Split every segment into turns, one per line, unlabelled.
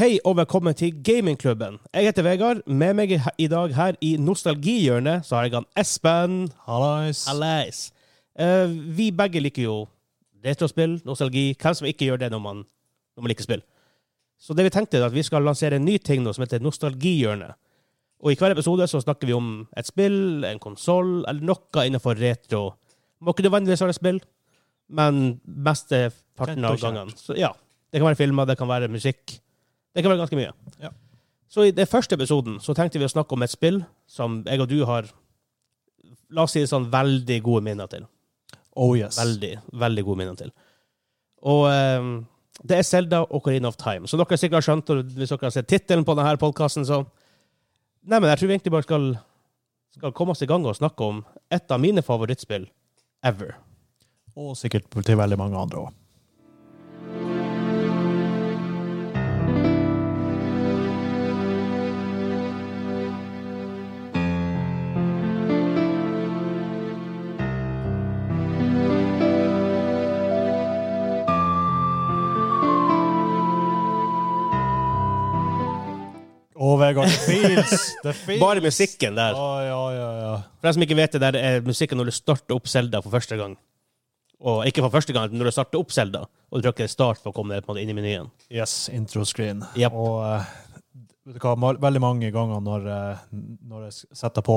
Hei og velkommen til Gamingklubben. Jeg heter Vegard. Med meg i- i dag her i nostalgihjørnet så har jeg han Espen.
Hallais.
Hallais. Eh, vi begge liker jo retrospill, nostalgi. Hvem som ikke gjør det når man, når man liker spill? Så det vi tenkte er at vi skal lansere en ny ting nå som heter Nostalgihjørnet. Og i hver episode så snakker vi om et spill, en konsoll eller noe innenfor retro. Må ikke nødvendigvis være spill, men mesteparten av
Kjent og
gangene. Så ja, Det kan være filmer, det kan være musikk. Det kan være ganske mye.
Ja.
Så i den første episoden så tenkte vi å snakke om et spill som jeg og du har La oss si det sånn veldig gode minner til.
Oh yes.
Veldig, veldig gode minner til. Og ehm, det er Selda og Carina of Time. Så dere sikkert har skjønt, og hvis dere har sett tittelen på denne podkasten, så Nei, men jeg tror vi egentlig bare skal, skal komme oss i gang og snakke om et av mine favorittspill ever.
Og sikkert til veldig mange andre òg. Å, Vegard, det feels! Det feels!
Bare musikken der.
Å, ja, ja, ja.
For dem som ikke vet det, der er musikken når du starter opp Selda for første gang. Og ikke for første gang, men når du starter opp Selda, og du trykker start for å komme deg på en måte inn i menyen.
Yes, introscreen.
Yep.
Og eh, vet du hva, ma- veldig mange ganger når, eh, når jeg s- setter på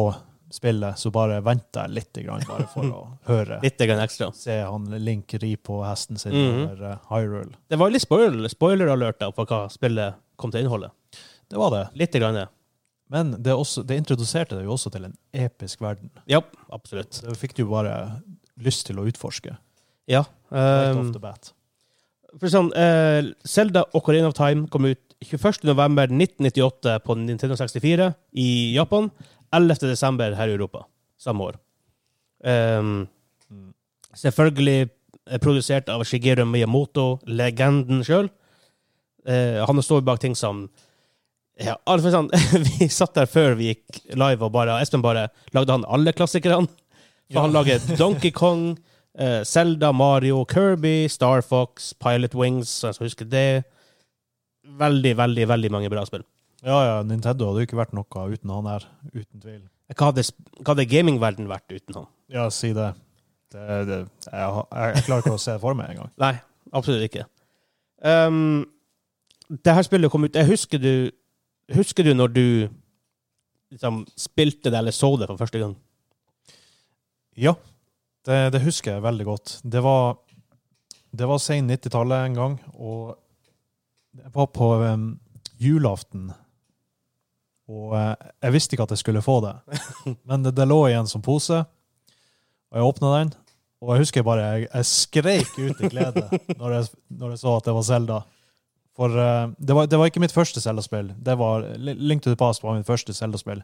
spillet, så bare venter jeg litt, grann, bare for å høre.
Litt grann ekstra.
Se han Link ri på hesten sin
Mhm.
over eh, Hyrule.
Det var litt spoiler, spoiler-alert da, på hva spillet kom til å inneholde.
Det var det.
Litt. Grann.
Men det, er også, det introduserte det jo også til en episk verden.
Ja, absolutt.
Det fikk du jo bare lyst til å utforske.
Ja.
Right
Um,
off the bat.
for sånn, eh, Zelda Ocarina of Time kom ut 21.11.1998 på Nintendo 64 i Japan. 11.12. her i Europa. Samme år. Um,
Mm.
Selvfølgelig eh, produsert av Shigeru Miyamoto, legenden sjøl. Eh, han står bak ting som ja, alt for sånn, Vi satt der før vi gikk live, og bare, Espen bare lagde han alle klassikerne. For
Ja.
han lager Donkey Kong, eh, Zelda, Mario, Kirby, Star Fox, Pilot Wings, så jeg skal huske det. Veldig, veldig, veldig mange bra spill.
Ja, ja, Nintendo hadde jo ikke vært noe uten han her, uten tvil.
Hva hadde, sp- hva hadde gamingverdenen vært uten han?
Ja, si det. det, det jeg, har- jeg, jeg klarer ikke å se det for meg engang.
Nei, absolutt ikke. Um, det her spillet kom ut Jeg husker du Husker du når du liksom spilte det eller så det for første gang?
Ja, det, det husker jeg veldig godt. Det var, det var sen 90-tallet en gang, og jeg var på em, julaften. Og eh, jeg visste ikke at jeg skulle få det, men det, det lå i en sånn pose. Og jeg åpna den, og jeg husker bare jeg, jeg skreik ut i glede når jeg, når jeg så at det var Selda. For eh, det, var, det var ikke mitt første Zelda-spill. Det var, Link to the Past var mitt første Zelda-spill.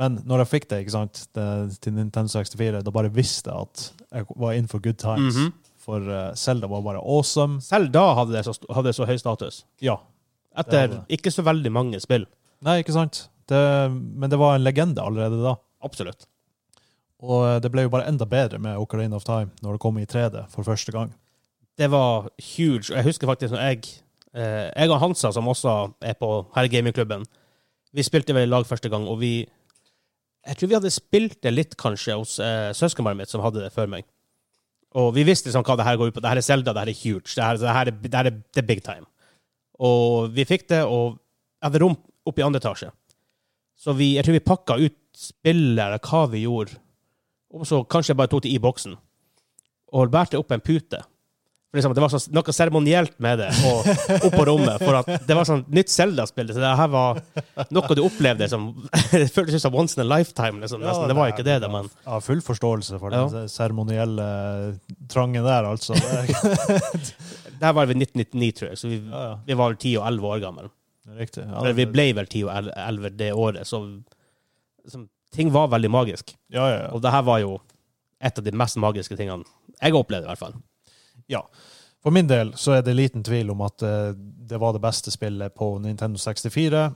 Men når jeg fikk det, ikke sant, det, til Nintendo 64, da bare visste jeg at jeg var in for good times.
Mhm.
For eh, Zelda var bare awesome.
Selv da hadde det så, st- hadde det så høy status.
Ja. Det
Etter
hadde
ikke så veldig mange spill.
Nei, ikke sant? Det, men det var en legende allerede da.
Absolutt.
Og eh, det ble jo bare enda bedre med Ocarina of Time når det kom i 3D for første gang.
Det var huge. Og jeg husker faktisk når jeg eh, Jeg og Hansa, som også er på her i gamingklubben, vi spilte vel i lag første gang, og vi Jeg tror vi hadde spilt det litt, kanskje, hos eh, søskenbarnet mitt, som hadde det før meg. Og vi visste liksom hva det her går ut på. Det her er Zelda, det her er huge. Det her, det her, er, det her er, det er big time. Og vi fikk det, og jeg hadde rom oppe i andre etasje. Så vi, jeg tror vi pakka ut spillet, eller hva vi gjorde. Og så kanskje jeg bare tok det i boksen. Og bærte opp en pute. For liksom, det var sånn- noe seremonielt med det, og opp på rommet. For at det var sånn nytt Zelda-spill. Så det her var noe du opplevde som Det føltes ut som once in a lifetime. Liksom. Nesten, det var ikke det, da, men
Jeg har full forståelse for
Ja.
den seremonielle eh, trangen der, altså. Det,
Det her var vel 1999, tror jeg, så vi,
ja, ja.
vi var vel 10 og 11 år gamle.
Riktig. Ja,
Eller vi ble vel 10 og 11 det året, så liksom, ting var veldig magisk.
Ja, ja, ja.
Og det her var jo et av de mest magiske tingene jeg opplevde, i hvert fall.
For min del så er det liten tvil om at eh, det var det beste spillet på Nintendo 64,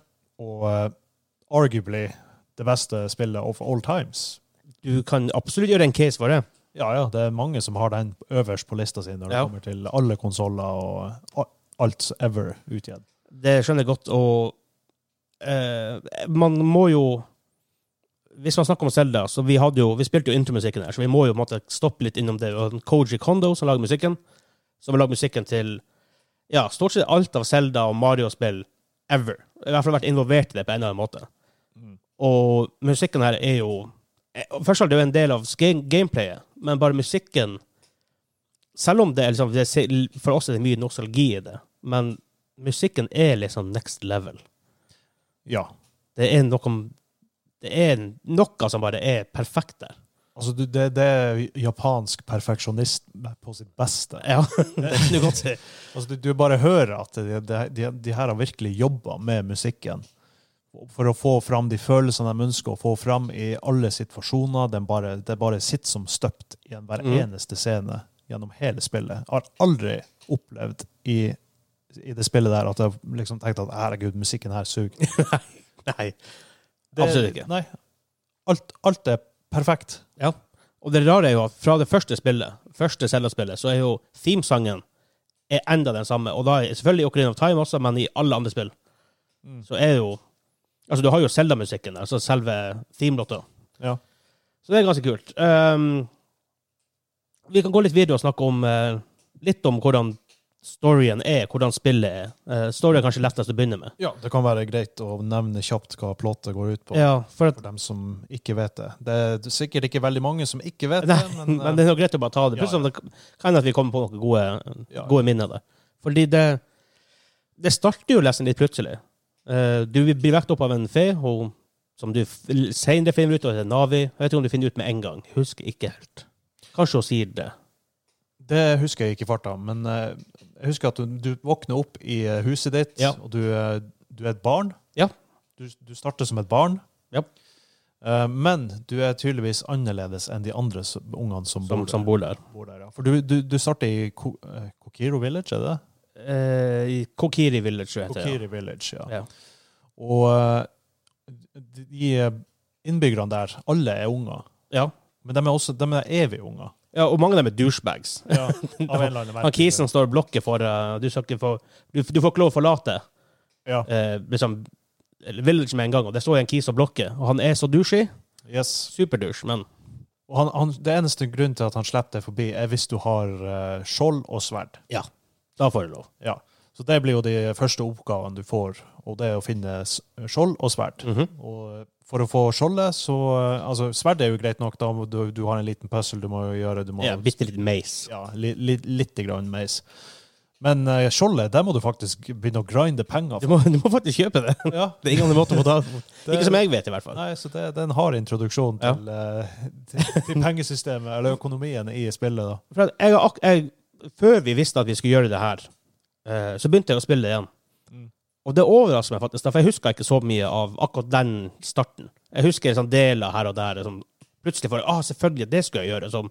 og eh, arguably det beste spillet of all times.
Du kan absolutt gjøre en case for det.
Ja, ja, det er mange som har den øverst på lista si når det
Ja.
kommer til alle konsoller og a- alt ever utgitt.
Det skjønner jeg godt, og eh, man må jo Hvis man snakker om Selda, så vi hadde jo, vi spilte jo intromusikken her, så vi må jo på en måte stoppe litt innom det. Og Koji Kondo, som lager musikken, som har lagd musikken til ja, stort sett alt av Selda og Mario-spill ever. I hvert fall vært involvert i det på en eller annen måte.
Mm.
Og musikken her er jo eh, Først og fremst er det jo en del av ske- gameplayet, men bare musikken Selv om det er liksom det er, se- For oss er det mye nostalgi i det, men musikken er liksom next level.
Ja.
Det er noe Det er noe som bare er perfekt der.
Altså, du- det, det er japansk perfeksjonisme på sitt beste.
Ja, det kan du godt si.
Altså, du, du bare hører at de, de, de, de her har virkelig jobba med musikken for å få fram de følelsene de ønsker å få fram i alle situasjoner. Den bare, det bare sitter som støpt i en hver
Mm.
eneste scene gjennom hele spillet. Jeg har aldri opplevd i, i det spillet der at jeg har liksom tenkt at herregud, musikken her suger.
Nei.
Det-
Absolutt ikke.
Nei. Alt, alt er perfekt.
Ja. Og det rare er jo at fra det første spillet, første Zelda-spillet, så er jo themesangen er enda den samme. Og da er selvfølgelig Ocarina of Time også, men i alle andre spill
Mm.
så er jo Altså, du har jo Zelda-musikken, altså selve themelåta.
Ja.
Så det er ganske kult. Ehm, vi kan gå litt videre og snakke om eh, litt om hvordan storyen er, hvordan spillet er. Eh, storyen er kanskje lettest å begynne med.
ja, det kan være greit å nevne kjapt hva plottet går ut på.
Ja, for at
for dem som ikke vet det. Det er sikkert ikke veldig mange som ikke vet
Nei,
det, men, eh,
men, det er jo greit å bare ta det.
Ja,
Plutselig det kan at vi kommer på noen gode,
eh, ja,
gode minner der. Fordi det, det starter jo nesten litt plutselig. Eh, du blir vekt opp av en fe, hun, som du f- senere finner ut av er Navi. Jeg vet ikke om du finner ut med en gang. Husker ikke helt. Kanskje hun sier det.
det husker jeg ikke i farta, men eh, jeg husker at du, du våkner opp i eh, huset ditt,
Ja.
og du, eh, du er et barn.
Ja.
Du, du starter som et barn.
Ja.
Eh, men du er tydeligvis annerledes enn de andre s- ungene som,
Som,
bor,
som bor der.
der. bor der. Ja. For du, du, du starter i Ko eh, Kokiro Village, er det det?
Eh, I Kokiri Village, heter det.
Kokiri Village, ja.
Ja.
Og eh, de- de innbyggerne der, alle er unger.
Ja.
Men de er også de er evige unger.
ja, og mange av dem er douchebags.
Ja, av en eller annen
Han Kisen står og blokker for eh, du, skal ikke få, du, du får ikke lov å forlate
Ja.
eh, liksom, Village med en gang, og det står en kis og blokker. Og han er så douchey.
Yes.
Superdouche, men
Og han, han, det eneste grunnen til at han slipper deg forbi, er hvis du har eh, skjold og sverd.
da får du lov.
Ja. Så det blir jo de første oppgavene du får, og det er å finne s- skjold og sverd.
Mhm.
Og eh, for å få skjoldet, så eh, Altså, sverd er jo greit nok, da. må Du, du har en liten puzzle du må gjøre. Du må,
Ja, Bitte litt meis.
ja, li, li, lite grann meis. Men eh, skjoldet, der må du faktisk begynne å grinde penger
Du
for.
må, du må faktisk kjøpe det.
Ja,
Det er ingen andre måte å få tak
det-
Ikke som jeg vet, i hvert fall.
Nei, så det, det er en hard introduksjon
Ja.
til, eh, til, til pengesystemet, eller økonomien, i spillet. da.
For at jeg, har ak- jeg, før vi visste at vi skulle gjøre det her, eh, så begynte jeg å spille det igjen.
Mm.
Og det overrasker meg faktisk, da, for jeg husker ikke så mye av akkurat den starten. Jeg husker liksom deler her og der. Liksom, plutselig får jeg ah, selvfølgelig, det skulle jeg gjøre. Som,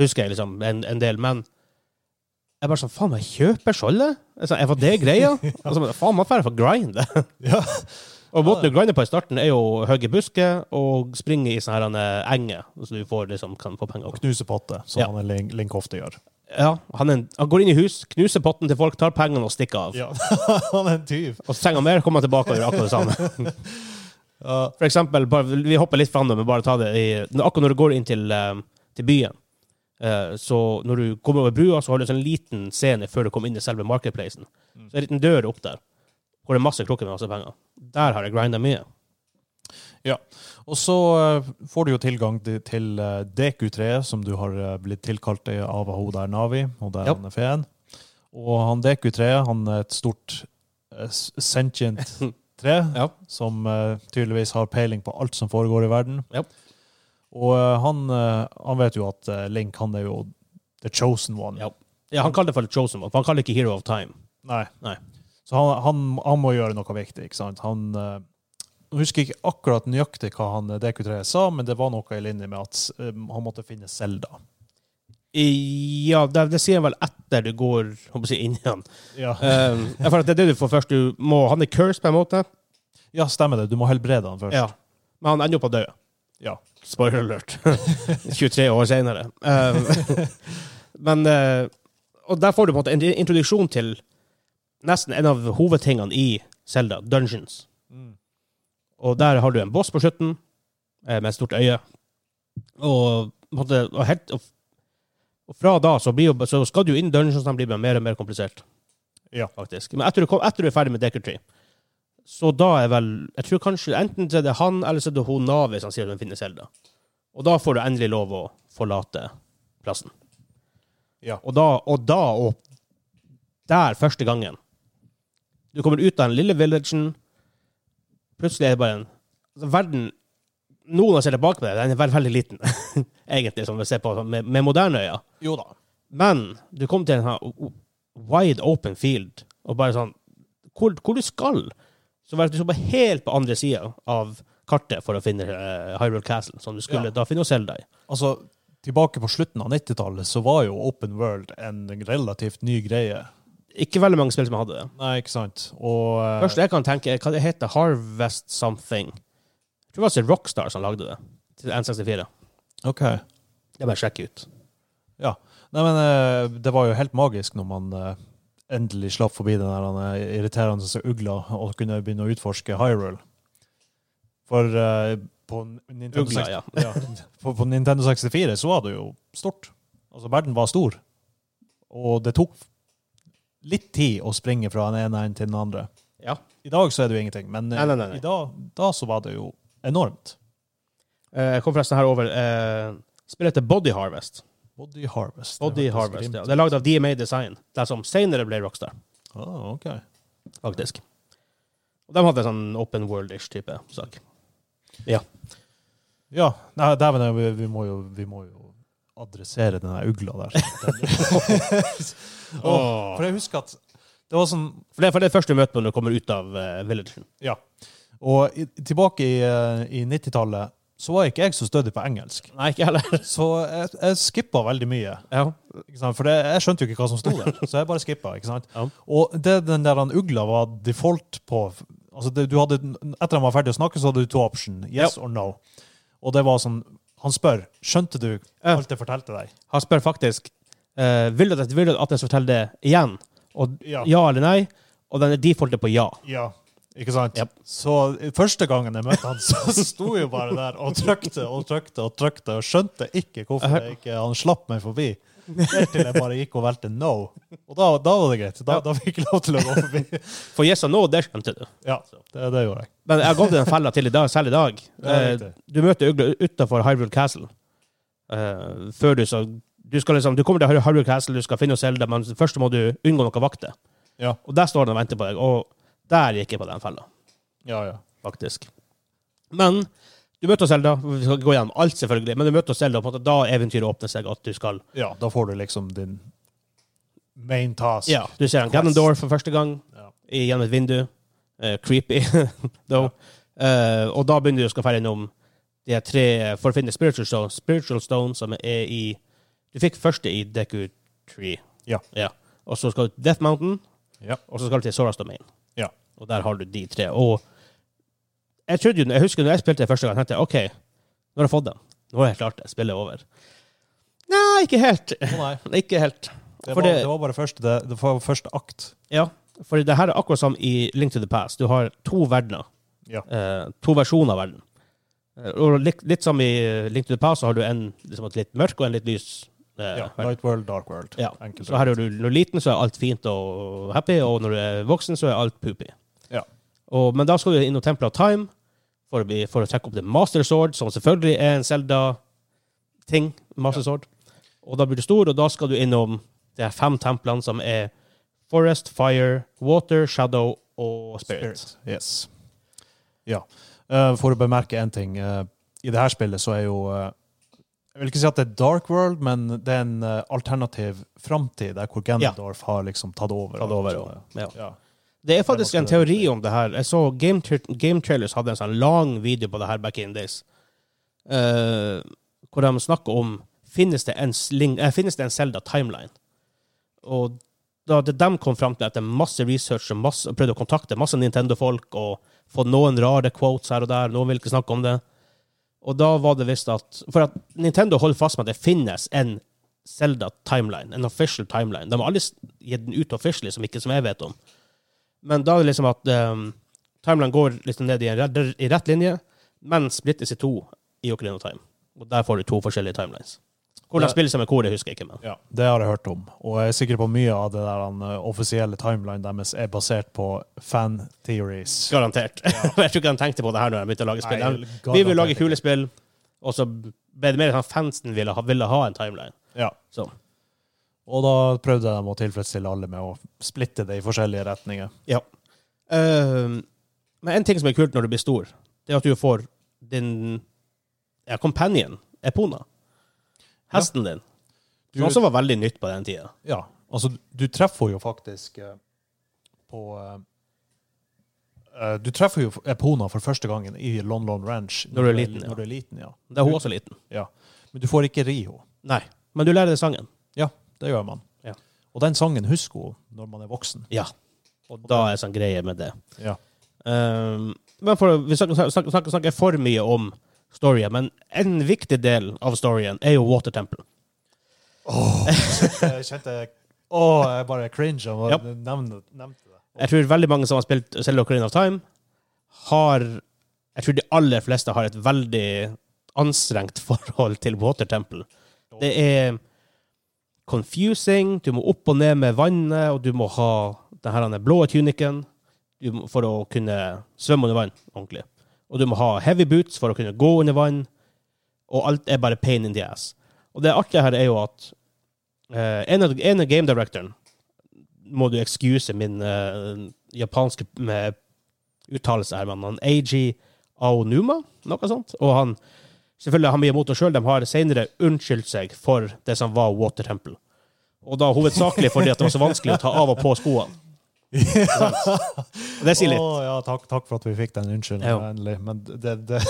husker jeg liksom en, en del. Men jeg bare sånn Faen, jeg kjøper skjoldet? Jeg sa, var det greia? altså, men faen, man får for grind.
Ja.
Og måten du grinder på i starten, er jo å hogge busker og springe i sånne her, eh, enger, så du får, liksom, kan få penger.
Og knuse potte, som
Ja.
han Link, Link ofte gjør.
Ja, han, er en, han går inn i hus, knuser potten til folk, tar pengene og stikker av.
han er en tyv.
Og så trenger han mer, kommer han tilbake og gjør akkurat det samme.
Ja.
For eksempel, bare, vi hopper litt fram, nå, men bare ta det i Akkurat når du går inn til, eh, til byen, eh, så når du kommer over brua, så har du en sånn liten scene før du kommer inn i selve marketplacen. Så er det en liten dør opp der, hvor det er masse krukker med masse penger. Der har jeg grinda mye.
Og så eh, får du jo tilgang til, til eh, Deku-treet, som du har eh, blitt tilkalt i av hun der Navi, og der
Ja.
han er feen. Og han Deku-treet, han er et stort eh, s- sentient tre,
Ja.
som eh, tydeligvis har peiling på alt som foregår i verden.
Ja.
Og eh, han, eh, han vet jo at eh, Link, han er jo the chosen one.
Ja. Ja, han kaller det for The Chosen One, for han kaller det ikke Hero of Time.
Nei.
Nei.
Så han, han, han må gjøre noe viktig, ikke sant? Han eh, jeg husker ikke akkurat nøyaktig hva han eh, DQ3 sa, men det var noe i linje med at eh, han måtte finne Selda.
I, ja, det, det sier han vel etter du går håper jeg, å si, inn i han.
Ja.
Um, ja, for at det er det du får først. Du må, han er cursed på en måte,
ja, stemmer det. Du må helbrede han først.
ja. men han ender opp å dø.
Ja.
Spoiler alert. 23 år senere. Ehm, Um, men eh, Og der får du på en måte en introduksjon til nesten en av hovedtingene i Zelda, Dungeons.
Mm.
Og der har du en boss på slutten, eh, med et stort øye. Og, på en måte, og, helt, og, og fra da så, blir jo, så skal du jo inn i dungeons, de blir bare mer og mer komplisert.
Ja.
Faktisk. Men etter du, kom, etter du er ferdig med Decker Tree, så da er vel Jeg tror kanskje enten så er det han eller så er det hun Navi som sier at hun finner Selda. Og da får du endelig lov å forlate plassen.
Ja.
Og da og da og der første gangen Du kommer ut av den lille villagen. Plutselig er det bare en altså, Verden Noen har sett tilbake på det. Den er veldig, veldig liten, egentlig, som vi ser på med, med moderne øyne.
Jo da.
Men du kom til en her o- o- wide open field, og bare sånn Hvor, hvor du skal? Så var det at du så bare helt på andre sida av kartet for å finne eh, Hyrule Castle, som du skulle
Ja.
da finne og selge deg.
Altså, tilbake på slutten av 90-tallet så var jo Open World en relativt ny greie.
Ikke veldig mange spill som hadde det.
Nei, ikke sant? Og eh,
Først jeg kan tenke, hva det heter Harvest Something. Jeg tror det var altså Rockstar som lagde det, til N64.
OK.
Det er bare å sjekke ut.
Nei, men eh, det var jo helt magisk når man eh, endelig slapp forbi den der eh, irriterende ugla og kunne begynne å utforske Hyrule. For eh, på, Nintendo
Ugla,
60
ja.
ja. For på Nintendo 64 så var det jo stort. Altså, verden var stor. Og det tok litt tid å springe fra den ene enden til den andre.
Ja.
I dag så er det jo ingenting, men eh,
Nei, nei, nei, nei.
I dag, da så var det jo enormt.
Eh, Jeg kom forresten her over eh, Spillet heter Body Harvest.
Body Harvest.
Body
Det var faktisk
Harvest,
grimt.
ja. Det er lagd av DMA Design, det som senere ble Rockstar.
Ah, ok.
faktisk. Og de hadde en sånn open world-ish type sak.
Ja, nei, dæven, vi, vi, må jo, vi må jo adressere den der ugla der. Åh, for jeg husker at det var sånn
For, det, for det er første du møter på når du kommer ut av eh, villagen.
Ja. Og i, tilbake i, eh, i 90-tallet så var ikke jeg så stødig på engelsk.
Nei, ikke heller.
Så jeg, jeg skippa veldig mye.
Ja.
Ikke sant? For det, jeg skjønte jo ikke hva som sto der, så jeg bare skippa. Ikke sant?
Ja.
Og det den der han ugla var default på altså det, du hadde, Etter han var ferdig å snakke, så hadde du to option. Yes or no. Og det var sånn Han spør skjønte du
Ja.
alt jeg fortalte deg.
Han spør faktisk eh, vil du at vil du at jeg skal fortelle det igjen. Og
Ja.
ja, eller nei. Og den er defaultet på ja.
Ja. Ikke sant?
Japp.
Så eh, første gangen jeg møtte han, så sto jeg jo bare der og trykte og trykte og trykte og skjønte ikke hvorfor jeg ikke, han slapp meg forbi. Helt til jeg bare gikk og valgte no. Og da, da var det greit. Da,
Ja.
da fikk jeg lov til å gå forbi.
For yes og no, det skjønte du.
Ja, det, det gjorde jeg.
Men jeg har gått i den fella til i dag, selv i dag.
Ja, det er
Eh,
riktig.
du møter ugler utafor Hyrule Castle. Eh, før du så Du skal liksom, du kommer til Hyrule Castle, du skal finne Selda, men først må du unngå noen vakter.
Ja.
Og der står den og venter på deg, og der gikk jeg på den fella,
Ja, ja.
faktisk. Men du møter Selda, vi skal ikke gå gjennom alt, selvfølgelig, men du møter Selda, og på en måte da eventyret åpner seg, at du skal
ja, da får du liksom din main task.
Ja, du ser en Ganondorf for første gang
Ja.
i- gjennom et vindu. Eh, creepy, though. Eh, og da begynner du å skal ferdig innom de her tre for å finne spiritual stone, spiritual stone som er i Du fikk første i Deku Tree.
Ja.
Og så skal du til Death Mountain,
Ja.
og så skal du til Soras Domain.
Ja.
Og der har du de tre. Og jeg trodde jo, jeg husker når jeg spilte det første gang, tenkte jeg OK, nå har jeg fått den. Nå har jeg klart det. Spillet er over. Nei, ikke helt.
Å nei,
Ikke helt.
det,
For
var, det...
det-
var bare første, det, det var første akt.
Ja, for det her er akkurat som i Link to the Past. Du har to verdener.
Ja.
Eh, to versjoner av verden. Eh, Og litt, litt som i Link to the Past, så har du en liksom, et litt mørk og en litt lys. Eh,
Ja.
verden.
Light World, Dark World.
Ja.
Enkelt.
Så her er du når du er liten, så er alt fint og happy, og når du er voksen, så er alt poopy.
Ja.
Og, men da skal du inn og Temple of Time for å, bli, for å trekke opp The Master Sword, som selvfølgelig er en Zelda-ting. Master Sword. Og da blir du stor, og da skal du innom de her fem templene som er Forest, Fire, Water, Shadow og Spirit.
Yes. Ja. Eh, for å bemerke én ting. eh, I det her spillet så er jo eh, Jeg vil ikke si at det er Dark World, men det er en eh, alternativ framtid der hvor Ganondorf har liksom tatt over.
Tatt over, ja. Ja.
ja.
Det er faktisk
Det
en
måtte det
teori om det her. Jeg så Game, Tra- Game Trailers hadde en sånn lang video på det her back in days, eh, hvor de snakker om finnes det en, sling, eh, finnes det en Zelda timeline. Og da det de kom fram til etter masse research og masse, og prøvde å kontakte masse Nintendo-folk og få noen rare quotes her og der, noen vil ikke snakke om det. Og da var det visst at For at Nintendo holder fast med at det finnes en Zelda timeline, en official timeline. De har aldri s- gitt den ut officially, som ikke som jeg vet om. Men da er det liksom at um, timeline går liksom ned i, en rett, i rett linje, men splittes i to i Ocarina of Time. Og der får du to forskjellige timelines. Hvordan
Det-
spiller seg med hvor, det husker jeg ikke. men.
Ja, det har jeg hørt om. Og jeg er sikker på mye av det der den eh, offisielle timeline deres er basert på fan theories.
Garantert. jeg tror ikke han tenkte på det her når han begynte å lage spill. Han- vi vil lage kule spill, og så ble det mer sånn fansen ville ha, ville ha en timeline.
Ja.
Så.
Og da prøvde de å tilfredsstille alle med å splitte det i forskjellige retninger.
Ehm, men en ting som er kult når du blir stor, det er at du får din ja, companion, Epona. Hesten din.
Du-
Som også var veldig nytt på den tida.
Ja, altså du treffer jo faktisk eh, på eh, eh, Du treffer jo Epona for første gangen i Lon Lon Ranch.
Når du er liten, ja.
Når du er liten, ja.
Da er hun også liten.
Men du får ikke ri henne.
Nei. Men du lærer deg sangen.
Det gjør man.
Ja.
Og den sangen husker hun når man er voksen.
Ja. Og da er sånn greie med det.
Ja.
Ehm, men for, vi snakker, snakker, snakker, snakker for mye om storyen, men en viktig del av storyen er jo Water Temple.
Jeg kjente Å, jeg bare cringe av å
Ja.
nevne nevnte det.
Jeg tror veldig mange som har spilt Zelda Ocarina of Time, har Jeg tror de aller fleste har et veldig anstrengt forhold til Water Temple. Det er confusing, du må opp og ned med vannet, og du må ha den her den blå tuniken du må, for å kunne svømme under vann ordentlig. Og du må ha heavy boots for å kunne gå under vann, og alt er bare pain in the ass. Og det artige her er jo at eh, en, av, en av game directoren må du excuse min eh, japanske med uttalelse her, men han Eiji Aonuma, noe sånt, og han selvfølgelig han Miyamoto selv, de har senere unnskyldt seg for det som var Water Temple. Og da hovedsakelig fordi at det var så vanskelig å ta av og på skoene. Det sier litt.
Å, ja, takk, takk for at vi fikk den
Ja.
unnskyldningen, endelig. Men det, det,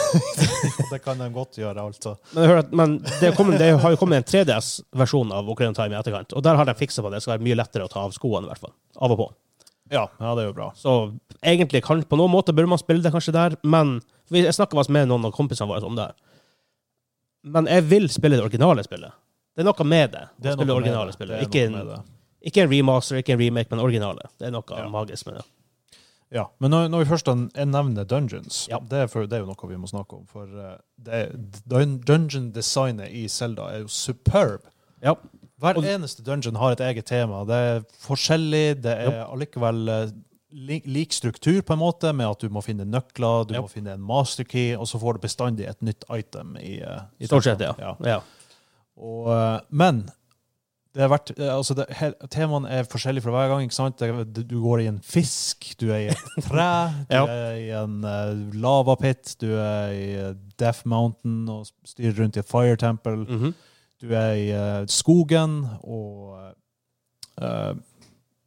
det kan de godt gjøre, altså.
Men, hør at, men det, kom, det har jo kommet en 3DS-versjon av Ocarina of Time i etterkant, og der har de fiksa på det. Det skal være mye lettere å ta av skoene, i hvert fall. Av og på.
Ja, ja det er jo bra.
Så egentlig kan, på noen måte burde man spille det kanskje der, men vi- Jeg snakka med noen av kompisene våre om det. her. Men jeg vil spille det originale spillet. Det er noe med det. å
Det er
spille det
noe med
originale
det.
spillet.
Det er
Ikke,
noe med
en-
det.
ikke en remaster, ikke en remake, men originale. Det er noe
Ja.
magisk med det.
Ja, men når, når vi først an- jeg nevner dungeons,
Ja.
det, er for, det er jo noe vi må snakke om. For eh, det, er- dun- dungeon-designet i Zelda er jo superb.
Ja.
Hver
Og-
eneste dungeon har et eget tema. Det er forskjellig, det er allikevel eh, li, lik struktur på en måte, med at du må finne nøkler, du
Ja.
må finne en masterkey, og så får du bestandig et nytt item. i, eh, i
Stort sett, ja.
dungeon.
ja.
Og, eh, men det har vært, eh, altså det, he, temaene er forskjellige fra hver gang. ikke sant? Det, du går i en fisk, du er i et tre, du
Ja.
er i en eh, lavapitt, du er i eh, Death Mountain og styrer rundt i Fire Temple.
Mhm.
Du er i eh, skogen og eh,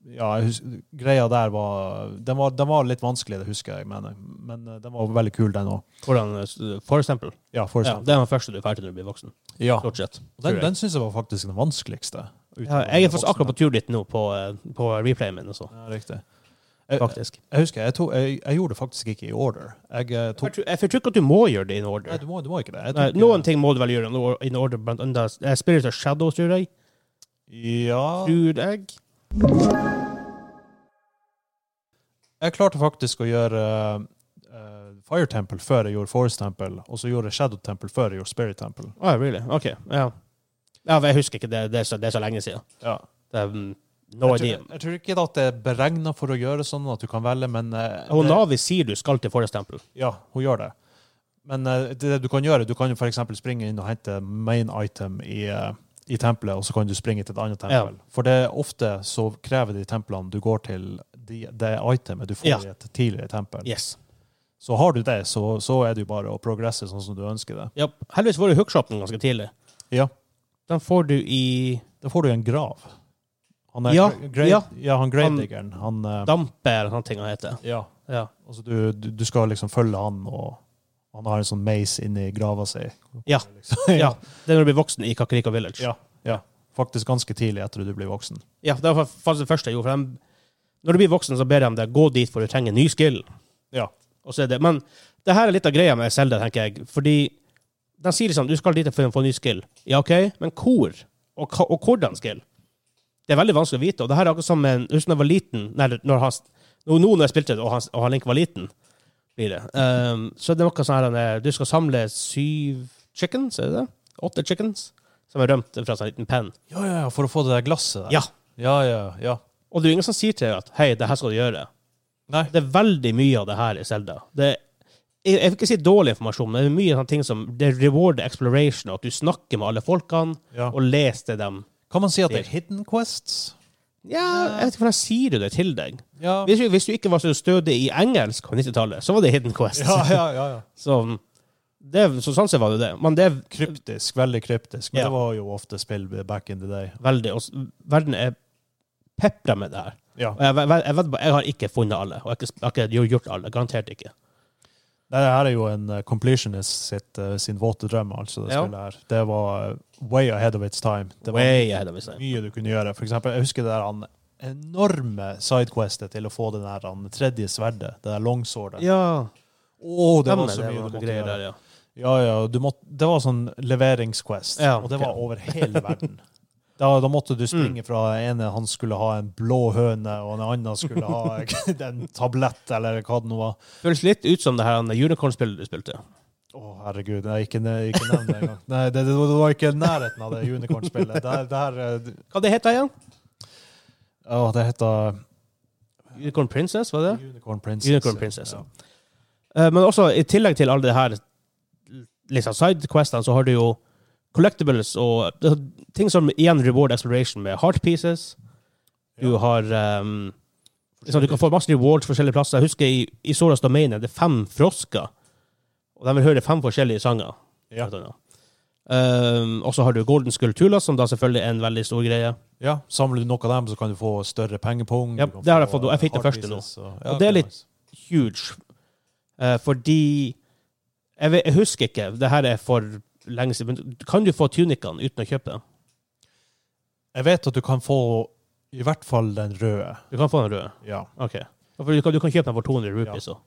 Ja, jeg hus- greia der var den, var den var litt vanskelig, det husker jeg, men, men eh, den var veldig kul, den òg.
Hvordan, eh, for eksempel.
Ja, for
Ja,
eksempel. Ah.
det er den første du er ferdig når du blir voksen.
Ja.
Stort sett.
Den, den syns jeg var faktisk den vanskeligste.
Ja, jeg er faktisk akkurat på tur dit nå, på, eh, på replayen min. Også,
Ja, riktig. Jeg, jeg,
faktisk.
Eh, jeg husker, jeg, tok, jeg, jeg gjorde det faktisk ikke i order. Jeg eh,
Jeg
tok
tror- jeg tror ikke at du må gjøre det in
Nei,
order.
du må, du må ikke det. Jeg
Nei,
tok,
noen ting må du vel gjøre in or- in order, blant annet eh, Spirit of Shadow, tror jeg.
eh, Ja
Tror jeg.
Jeg klarte faktisk å gjøre eh, Fire Temple før jeg gjorde Forest Temple, og så gjorde jeg Shadow Temple før jeg gjorde Spirit Temple.
Å, ja, Ah, really? OK. Ja. ja, men jeg husker ikke. Det, det, er, så, det er så lenge siden.
Ja.
Det er, mm, no
jeg,
idea.
tror, jeg tror ikke at det er beregna for å gjøre sånn at du kan velge, men eh,
Og
det-
Navi sier du skal til Forest Temple.
Ja, hun gjør det. Men eh, det du kan gjøre, du kan jo f.eks. springe inn og hente main item i, eh, i tempelet, og så kan du springe til et annet tempel. For det er ofte så krever de templene du går til, de, det itemet du får
Ja.
i et tidligere tempel.
Yes.
Så har du det, så, så er det jo bare å progresse sånn som du ønsker det.
Ja, heldigvis var det hookshopen ganske tidlig.
Ja.
Den får du i
Da får du en grav. Han
Ja,
gra- grave-
ja.
ja, han gravediggeren. Han, eh,
Dampe, eller noe ting han heter.
ja.
Ja.
Altså, du, du, du skal liksom følge han, og han har en sånn mace inni grava si.
Ja.
Liksom.
ja. Det er når du blir voksen i Kakeriko Village.
Ja, ja. Faktisk ganske tidlig etter at du blir voksen.
Ja, det var faktisk det første jeg gjorde. For de, når du blir voksen, så ber de deg gå dit, for du trenger en ny skill.
Ja.
Og så er det, men det her er litt av greia med Zelda, tenker jeg. Fordi de sier liksom du skal dit for å få en ny skill. Ja, OK, men hvor? Og, hva- og hvordan skill? Det er veldig vanskelig å vite. Og det her er akkurat som en, husk når jeg var liten, nei, når, han- Nå, nå når jeg spilte det, og han, og han Link var liten, blir det. Ehm, så det er noe sånn her han er- Du skal samle syv chickens, er det det? Åtte chickens? Som er rømt fra en sånn liten penn.
Ja, ja, ja, for å få det der glasset der.
Ja.
Ja, ja, ja.
Og det er jo ingen som sier til deg at 'hei, det her skal du gjøre'.
Nei.
Det er veldig mye av det her i Zelda. Det er, jeg, jeg vil ikke si dårlig informasjon, men det er mye sånne ting som det rewarder exploration, og at du snakker med alle folkene
Ja.
og leser dem.
Kan man si at det er hidden quests?
Ja, jeg vet ikke hvordan sier du det til deg.
Ja.
Hvis du, hvis du ikke var så stødig i engelsk på 90-tallet, så var det Hidden Quest.
Ja, ja, ja, ja.
Så, det, så sånn sett var det det. Men det er
Kryptisk, veldig kryptisk. Men
Ja.
det var jo ofte spill back in the day.
veldig og s- Verden er pepra med det her.
Ja.
Og jeg, jeg, jeg, vet bare- jeg har ikke funnet alle, og jeg har ikke, jeg har ikke gjort alle. Garantert ikke.
Nei, Det her er jo en eh, completionist sitt, eh, sin våte drøm, altså. Det
Ja.
spillet her. Det var eh, way ahead of its time. Det var
Way ahead of its time.
mye du kunne gjøre. For eksempel, jeg husker det der han enorme sidequestet til å få det der han tredje sverdet, det der longswordet.
Ja,
Åh, det var
stemmer,
så mye
noen
du måtte
greier
gjøre.
der, ja.
Ja, ja, du måtte, det var sånn leveringsquest,
Ja,
og det
ok. Mm.
var over hele verden. Da, da måtte du springe fra ene han skulle ha en blå høne, og den andre skulle ha en tablett, eller hva det nå var.
Føles litt ut som det her han unicorn-spillet du spilte.
Å, herregud. Nei, ikke, ne- ikke nevn det engang. Nei, det, det, var- det var ikke i nærheten av det unicorn-spillet. Det, her- det her eh,
Hva det heter det igjen?
Å, det heter
Unicorn Princess, var det?
Unicorn Princess.
Unicorn Princess, ja. Eh, Men også, i tillegg til alle de her liksom, sidequestene, så har du jo collectibles og det er ting som igjen reward exploration med heart pieces. Du
Ja.
har ehm, liksom, Du kan få masse rewards forskjellige plasser. Jeg husker i, i Soras Domain er det fem frosker, og de vil høre fem forskjellige sanger.
Ja.
blant annet. Ehm, og så har du Golden Skull Tulas, som da selvfølgelig er en veldig stor greie.
Ja, Samler du nok av dem, så kan du få større pengepung.
Ja,
du kan
det har jeg
få,
fått nå. Jeg fikk det
hard
første nå.
pieces, Og,
Og det er
ok,
litt-
nice.
huge. Eh, fordi jeg, vet, jeg husker ikke. Det her er for lenge siden. men Kan du få tunikaen uten å kjøpe?
Jeg vet at du kan få i hvert fall den røde.
Du kan få den røde.
Ja.
Ok. Ja, For du, kan, du kan kjøpe den for 200 rupees. så.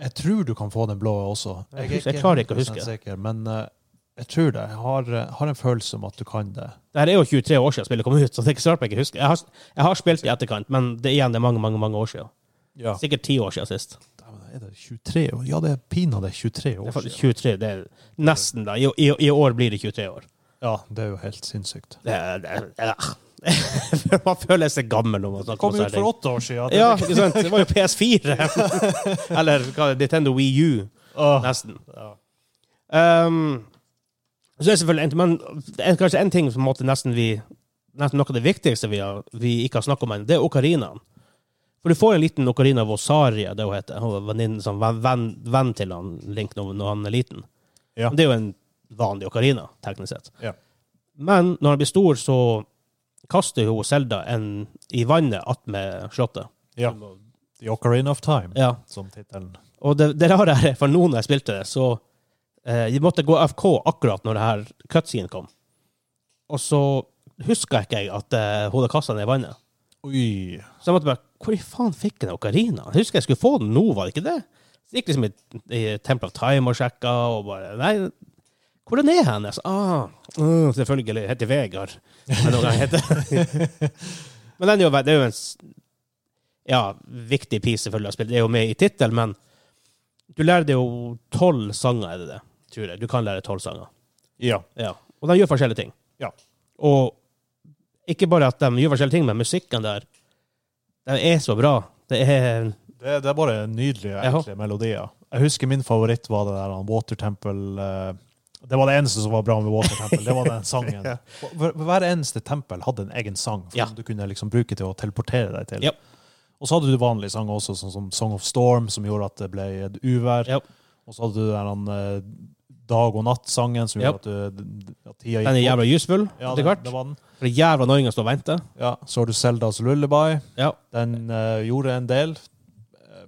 Jeg tror du kan få den blå også.
Jeg husker- jeg klarer ikke å
100%
huske.
Sikker, men eh, jeg tror det. Jeg har, eh, har en følelse om at du kan det.
Det her er jo 23 år siden spillet kom ut, så det er ikke så rart jeg ikke husker. Jeg har, jeg har spilt i etterkant, men det igjen, det er mange mange, mange år siden.
Ja.
Sikkert 10 år siden sist.
Er det 23 år? Ja, det er pinadø 23
Det
år
er faktisk
siden.
23, det er nesten, da. I, i, I år blir det 23 år.
Ja, det er jo helt sinnssykt.
Det, er- det, er- ja. Man føler seg gammel når man
Det
snakker
kom
om
ut
sånne
for åtte år siden.
Ja, ikke sant? Det var jo PS4. Eller hva, Nintendo Wii U,
Åh.
nesten.
Ja.
Um, så er det selvfølgelig en, men det er kanskje en ting som på en måte nesten vi nesten noe av det viktigste vi, har, vi ikke har snakket om ennå, det er okarinaen. For du får en liten okarina av Osaria, det hun heter. Hun er venninne som venn, venn, venn til han Link når, når han er liten.
Ja.
Men Det er jo en vanlig okarina, teknisk sett.
Ja.
Men når han blir stor, så kaster hun Selda en i vannet attmed slottet.
ja. The Ocarina of Time,
Ja.
som tittelen.
Og det, det rare er, for noen jeg spilte det, så eh, jeg måtte gå AFK akkurat når det her cutscene kom. Og så huska ikke jeg at eh, hodet kasta ned i vannet.
Oi.
Så jeg måtte bare Hvor i faen fikk jeg den okarinaen? Jeg husker jeg skulle få den nå, var det ikke det? Så gikk liksom i, i Temple of Time og sjekka, og bare Nei, hvordan er han? Jeg sa, ah, mm, selvfølgelig. Heter Vegard. Eller hva han heter. men den er jo, ve- det er jo en s- ja, viktig piece selvfølgelig å spille. Det er jo med i tittelen, men du lærer deg jo tolv sanger, er det det? Tror jeg. Du kan lære tolv sanger.
Ja.
Ja. Og de gjør forskjellige ting.
Ja.
Og ikke bare at de gjør forskjellige ting, men musikken der Den er så bra. Det er
Det, det er bare nydelige, enkle melodier. Jeg husker min favoritt var det der han Water Temple eh, Det var det eneste som var bra med Water Temple. Det var den sangen. Hver, hver eneste tempel hadde en egen sang som
Ja.
du kunne liksom bruke til å teleportere deg til.
Ja.
Og så hadde du vanlige sanger også, sånn som Song of Storm, som gjorde at det ble et uvær.
Ja.
Og så hadde du den der, eh, dag og natt-sangen, som
Ja.
gjorde at, du, at tida gikk
Den er
bort.
jævla useful,
ja,
etter
det,
hvert.
det var den.
For det er jævla noinger som står og venter.
Ja. Så har du Seldas Lullaby.
Ja.
Den eh, gjorde en del. Eh,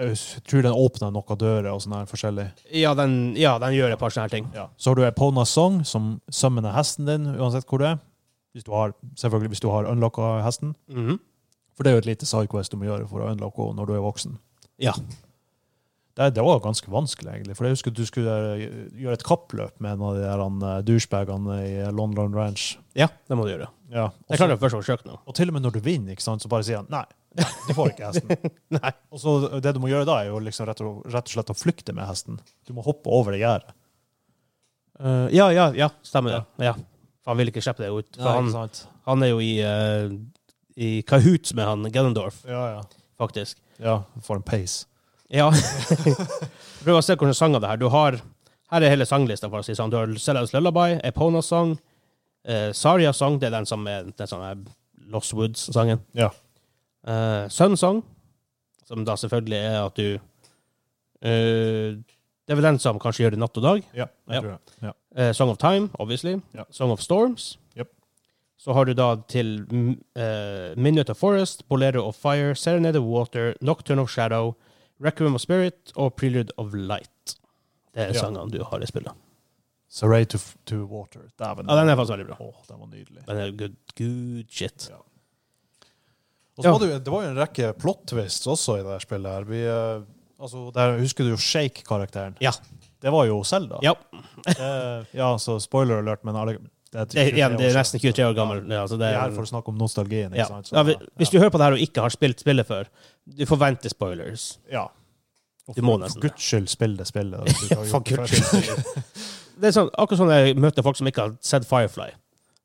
Jeg tror den åpna noen dører og sånn her forskjellig.
Ja, den, ja, den gjør et par sånne her ting.
Så har du Epona Song, som summoner hesten din uansett hvor du er. Hvis du har, selvfølgelig hvis du har unlocka hesten.
Mhm.
For det er jo et lite sidequest du må gjøre for å unlocke henne når du er voksen.
Ja.
Det, det var ganske vanskelig, egentlig. For jeg husker at du skulle eh, gjøre et kappløp med en av de der eh, douchebagene i London Ranch.
ja, det må du gjøre.
Ja.
Jeg
Og, så,
klarte det første forsøk nå.
og til og med når du vinner, ikke sant, så bare sier han nei, Det får ikke hesten.
Nei.
Og så det du må gjøre da, er jo liksom rett og, rett og slett å flykte med hesten. Du må hoppe over det gjerdet.
Eh, ja, ja, ja, stemmer det. Ja. For Han vil ikke slippe det ut. For
Ja,
han,
ikke sant?
han er jo i, eh, i kahoot med han Gennendorf,
Ja, ja.
faktisk.
Ja, for en pace.
Ja. Prøv å se hvordan sanger det her. Du har, her er hele sanglista, for å si det sånn. Du har Sellas Lullaby, Epona Song, eh, Saria Song, det er den som er, den som er Lost Woods-sangen.
Ja.
Eh, Sun Song, som da selvfølgelig er at du eh, Det er vel den som kanskje gjør det natt og dag.
Ja, jeg
Ja.
tror det. Ja.
Eh, Song of Time, obviously.
Ja.
Song of Storms.
Yep.
Så har du da til mm, eh, Minute of Forest, Bolero of Fire, Serenade of Water, Nocturne of Shadow, Requiem of Spirit og Prelude of Light. Det er
Ja.
sangene du har i spillet.
Saray to, to water. Dæven.
Ja, den er faktisk veldig bra.
Åh, den var nydelig.
Den er good, good shit.
Ja. Og så
Ja.
var det, jo- det var jo en rekke plot twists også i det her spillet. her. Vi, eh, altså, der Husker du jo Shake-karakteren?
Ja.
Det var jo Selda.
Ja.
ja, så spoiler alert, men alle, det,
Det er, igjen, det er
23 år
nesten 23 år gammel. Ja, altså
Vi
det
er
er,
her for å snakke om nostalgien. Ikke
ja.
sant? Så,
Ja, vi- hvis du hører på det her og ikke har spilt spillet før, du forventer spoilers.
ja. Og
Du må
for,
nesten
for guds skyld, spill det spillet. da, hvis du ikke har
For
gjort det
guds
før.
Det er sånn, akkurat sånn jeg møter folk som ikke har sett Firefly.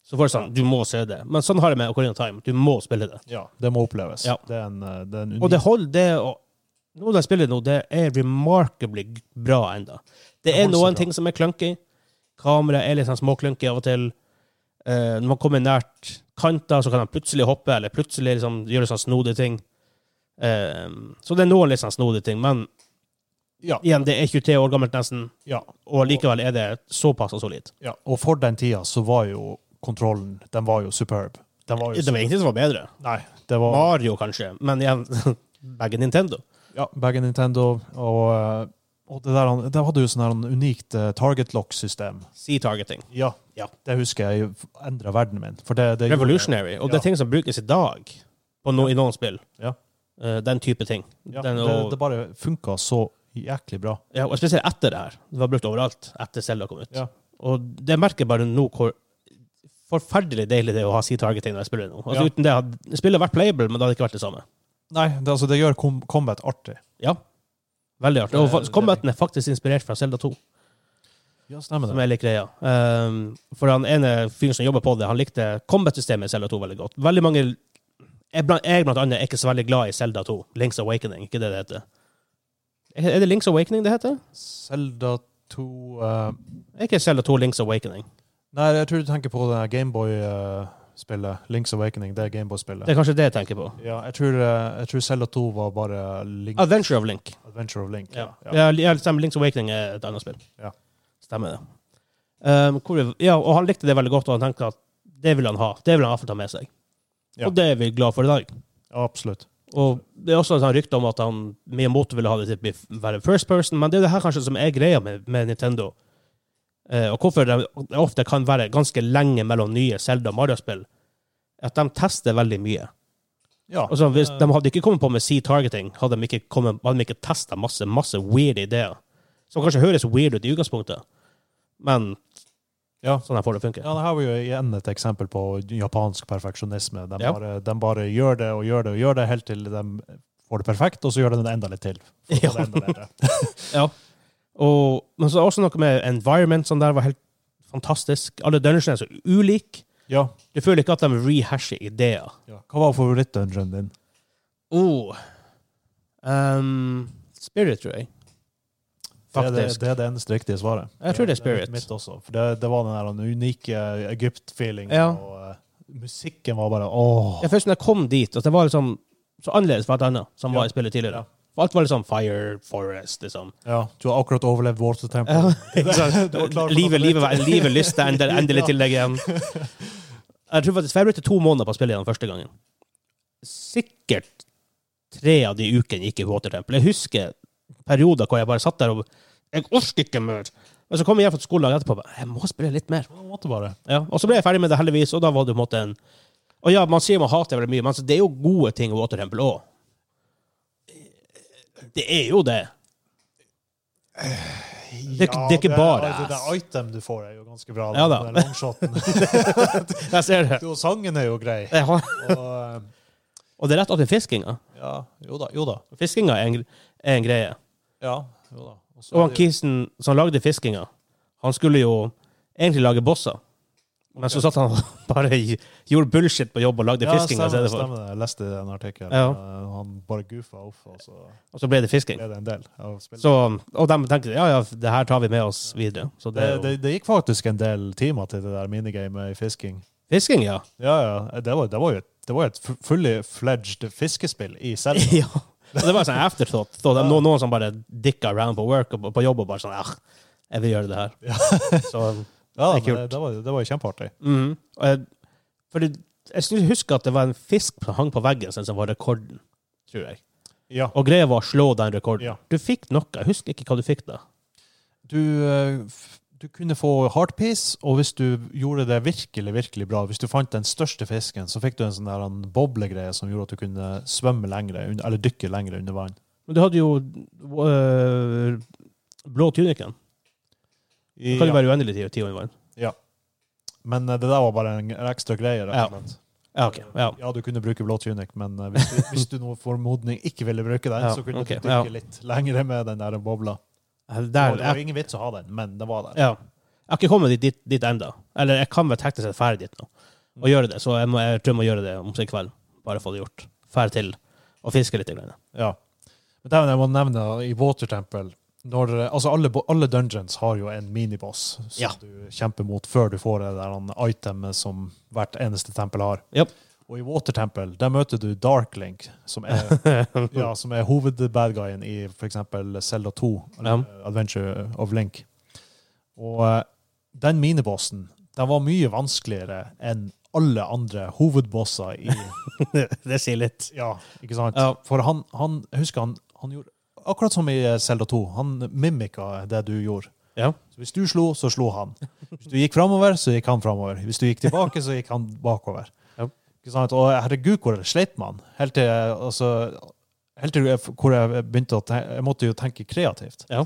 Så får jeg sånn, du må se det. Men sånn har jeg med Ocarina of Time. Du må spille det.
Ja, det må oppleves.
Ja.
Det er en, eh, det er en
Og det
unik
holder det å Noe de spiller nå, det er remarkably bra enda. Det
Det
er
holder seg
noen
bra.
ting som er clunky. Kameraet er litt sånn småklunky av og til. Eh, når man kommer nært kanter, så kan han plutselig hoppe, eller plutselig liksom gjøre sånn snodige ting. Eh, så det er noen litt sånn snodige ting, men
ja,
igjen, det er 23 år gammelt nesten,
ja,
og likevel er det såpass og solid.
ja. Og for den tida så var jo kontrollen Den var jo superb. Den var jo
Det var ingenting som var bedre.
Nei, det var
Mario, kanskje, men igjen begge Nintendo.
Ja, begge Nintendo og, eh, og det der, han- der hadde jo sånn her en unikt eh, target lock-system.
C-targeting.
Ja,
Ja.
Det husker jeg endra verden min. For det, det gjorde-
Revolutionary. Og det er
Ja.
ting som brukes i dag på no, i noen spill.
Ja.
Eh, den type ting.
Ja,
Den
det,
og,
det bare funka så jæklig bra.
ja, og spesielt etter det her. Det var brukt overalt etter Zelda kom ut.
Ja.
Og det merker jeg bare nå hvor forferdelig deilig det er å ha C-targeting når jeg spiller nå. Altså
Ja.
Uten det hadde spillet vært playable, men det hadde ikke vært det samme.
Nei, det, altså, det gjør com combat artig.
Ja. Veldig artig. Og
Det-
fa-
det-
combaten er faktisk inspirert fra Zelda 2.
Ja, stemmer
som
det.
er litt greia. Ehm, for han ene fyren som jobber på det, han likte combat-systemet i Zelda 2 veldig godt. Veldig mange jeg blant, jeg blant annet er ikke så veldig glad i Zelda 2. Links Awakening, ikke det det heter? Er er det Links Awakening det heter?
Selda 2 eh,
Er ikke Zelda 2 Links Awakening?
Nei, jeg tror du tenker på det Gameboy-spillet. Links Awakening, det
Det
Gameboy-spillet.
er kanskje det jeg tenker på.
Ja, jeg tror, eh, jeg tror Zelda 2 var bare Link,
Adventure of Link.
Adventure of Link.
Ja,
Ja, ja.
ja. ja stemmer. Links Awakening er et annet spill.
Ja.
Stemmer det. Ehm, hvor, vi- ja, og han likte det veldig godt, og han tenkte at det vil han ha. Det vil han iallfall ta med seg.
Ja.
Og det er vi glad for i dag.
Absolutt.
Og det er også et sånt rykte om at han Miyamoto ville ha det til å bli- være first person, men det er det her kanskje som er greia med, med Nintendo. Eh, og hvorfor det ofte kan være ganske lenge mellom nye Zelda og Mario-spill. At de tester veldig mye.
Ja.
Altså, hvis
Eh,
De hadde ikke kommet på med C-targeting, hadde de ikke, kommet- hadde de ikke testa masse, masse weird ideer. Som kanskje høres weird ut i utgangspunktet, men
ja.
sånn her får det funke.
Ja, det her var jo igjen et eksempel på japansk perfeksjonisme. De,
Ja.
bare, de bare gjør det og gjør det og gjør det helt til de får det perfekt, og så gjør de det enda litt til. for å få
Ja.
det enda bedre.
Og, men så er det også noe med environment som der var helt fantastisk. Alle dungeons er så ulike.
ja.
Du føler ikke at de rehasher ideer.
Hva var favorittdungeonen din?
Oh. Um, Spirit, tror jeg.
Det er det,
Faktisk.
det er det eneste riktige svaret.
Jeg tror det er Spirit.
mitt også. For det, det var den der unike Egypt-feelingen.
Ja.
Og eh, musikken var bare åh.
Jeg følte når jeg kom dit, at det var liksom så annerledes fra alt annet som
Ja.
var i spillet tidligere.
Ja.
For alt var liksom fire, forest, liksom.
Ja, du har akkurat overlevd Water Temple.
Ja,
Du var klar for
livet,
noe nytt.
livet, livet lyste endelig, endelig til deg igjen. Jeg tror faktisk jeg brukte to måneder på å spille igjen første gangen. Sikkert tre av de ukene gikk i Watertemple. Jeg husker perioder hvor jeg bare satt der og Jeg orker ikke mer! Men så kom jeg hjem fra skolen dagen etterpå og bare, jeg må spille litt mer.
På en måte bare.
Ja, og så ble jeg ferdig med det heldigvis, og da var det på en måte en Og ja, man sier man hater veldig mye, men altså, det er jo gode ting i Watertemple òg. Det er jo det. det er ikke bare
Det, det
ass.
item du får, er jo ganske bra.
Ja da.
Den der longshoten.
Jeg ser det.
Jo, sangen er jo grei.
Jeg har-
Og, eh,
Og det er rett opp til fiskinga.
Ja, jo da. Jo da.
Fiskinga er en, er en greie.
Ja, jo da. Og så
Og
er
han
det jo-
Kisen som lagde fiskinga, han skulle jo egentlig lage bosser. Men så satt han og bare gjorde bullshit på jobb og lagde fiskinga i
stemmer,
stedet altså, for.
stemmer det. Jeg leste den artikkelen.
Ja.
Eh, Han bare goofa off, og så
Og så ble det fisking.
ble det en del. av spillet.
Så, og de tenkte ja, ja, det her tar vi med oss videre. Så det,
det,
er jo-
det, det gikk faktisk en del timer til det der minigamet i fisking.
Fisking, ja.
Ja, ja. Det var, det var jo et, det var et fu- fully fledged fiskespill i selv.
ja. Og det var sånn afterthought. Så det er noen, noen som bare dicka around på work og på- på jobb og bare sånn ah, jeg vil gjøre det her. Så,
Ja,
Det er
det,
kult.
det, det, var, det var jo kjempeartig.
mhm. Og jeg, for det, jeg skulle huske at det var en fisk som hang på veggen sånn som var rekorden, tror jeg.
Ja.
Og greia var å slå den rekorden.
Ja.
Du fikk noe. Jeg husker ikke hva du fikk da.
Du, eh, f- du kunne få hardpiece, og hvis du gjorde det virkelig, virkelig bra, hvis du fant den største fisken, så fikk du en sånn der en boblegreie som gjorde at du kunne svømme lengre, un- eller dykke lengre under vann.
Men du hadde jo øh, blå tunikken. Du kan jo
Ja.
være uendelig tid, tid under vann.
Men eh, det der var bare en en ekstra greie, rett og slett.
Ja, ok. Ja.
Ja, du kunne bruke blå tunic, men eh, hvis du, hvis du nå for modning ikke ville bruke den,
Ja,
så kunne
ok,
du dykke
ja.
litt lengre med den der bobla. Det
Der,
var, det var ingen vits å ha den, men det var der.
Ja. Jeg har ikke kommet dit, dit, dit enda. Eller jeg kan være teknisk sett ferdig dit nå.
Mm.
Og gjøre det, så jeg, må, jeg tror jeg må gjøre det om i kveld. Bare få det gjort. Fær til og fiske litt. Grann.
Ja. Men det er jo det jeg må nevne i Water Temple når, altså alle, bo- alle dungeons har jo en miniboss som
Ja.
du kjemper mot før du får det der han itemet som hvert eneste tempel har.
Japp.
Og i Water Temple der møter du Darklink, som er, ja, som er hovedbadguyen i f.eks. Zelda 2, eller Adventure of Link. Og eh, den minibossen den var mye vanskeligere enn alle andre hovedbosser i
det sier litt.
ja, ikke sant?
Ja.
For han, han jeg husker han, han gjorde akkurat som i Selda 2. Han mimika det du gjorde.
Ja.
Så hvis du slo, så slo han. Hvis du gikk framover, så gikk han framover. Hvis du gikk tilbake, så gikk han bakover.
Ja.
Ikke sant? Og eh, herregud, hvor sleit man? Helt til, altså, helt til jeg, hvor jeg begynte å tenke, jeg måtte jo tenke kreativt.
Ja.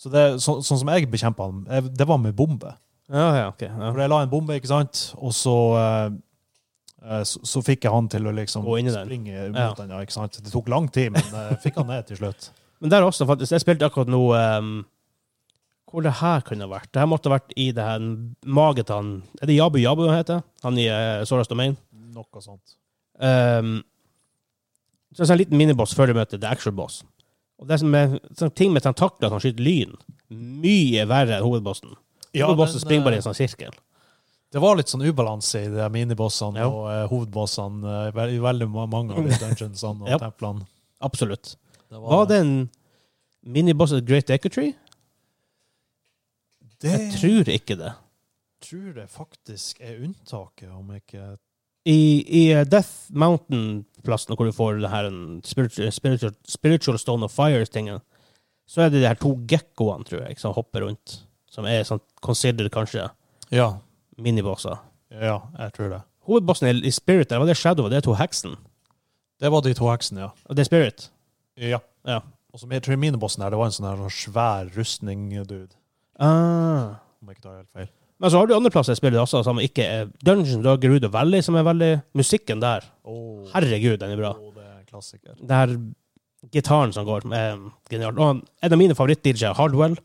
Så det, så, sånn som jeg bekjempa han, jeg- det var med bombe.
Ja, ja, ok. Ja.
For jeg la en bombe, ikke sant? Og så, eh, eh, så, så fikk jeg han til å liksom
Gå inn i den.
springe mot
Ja.
den. Ja, ikke sant? Det tok lang tid, men jeg fikk han ned til slutt.
Men der også, faktisk. Jeg spilte akkurat nå ehm, Hvor det her kunne vært? Det her måtte ha vært i det her maget han Er det Jabu Jabu han heter? Han i uh, Soras Domain?
Noe sånt.
Um, så det er sånn en liten miniboss før du møter the actual boss. Og det som er sånn ting med tentakler som skyter lyn, mye verre enn hovedbossen. hovedbossen
men,
springer bare i
eh,
en sånn sirkel.
det var litt sånn ubalanse i de minibossene
Ja.
og eh, hovedbossene eh, ve- i veldig ma- mange av de dungeonsene og
Ja.
templene.
Absolutt.
Det
Var det en miniboss i Great Acre Tree?
Det
Jeg tror ikke det.
tror jeg faktisk er unntaket, om jeg ikke
I, i eh, Death Mountain-plassen, hvor du får det her en spiritual, spiritual, spiritual Stone of Fires-tingen, så er det de her to gekkoene, tror jeg, som hopper rundt. Som er sånn considered kanskje
Ja.
minibosser.
Ja, jeg tror det.
Hovedbossen i- i Spirit der, var det Shadow, det er to heksen.
Det var de to heksene, ja.
Og det er Spirit.
Ja.
Ja.
Og så jeg tror minibossen her, det var en sånn her svær rustning-dude. Om jeg ikke tar helt feil.
Men så har du andreplasser i spillet også, som ikke er Dungeon, du har Gerudo Valley, som er veldig Musikken der,
Oh.
herregud, den er bra.
Og det er en klassiker.
Det her gitaren som går, er genialt. Og en av mine favoritt-DJ-er, Hardwell,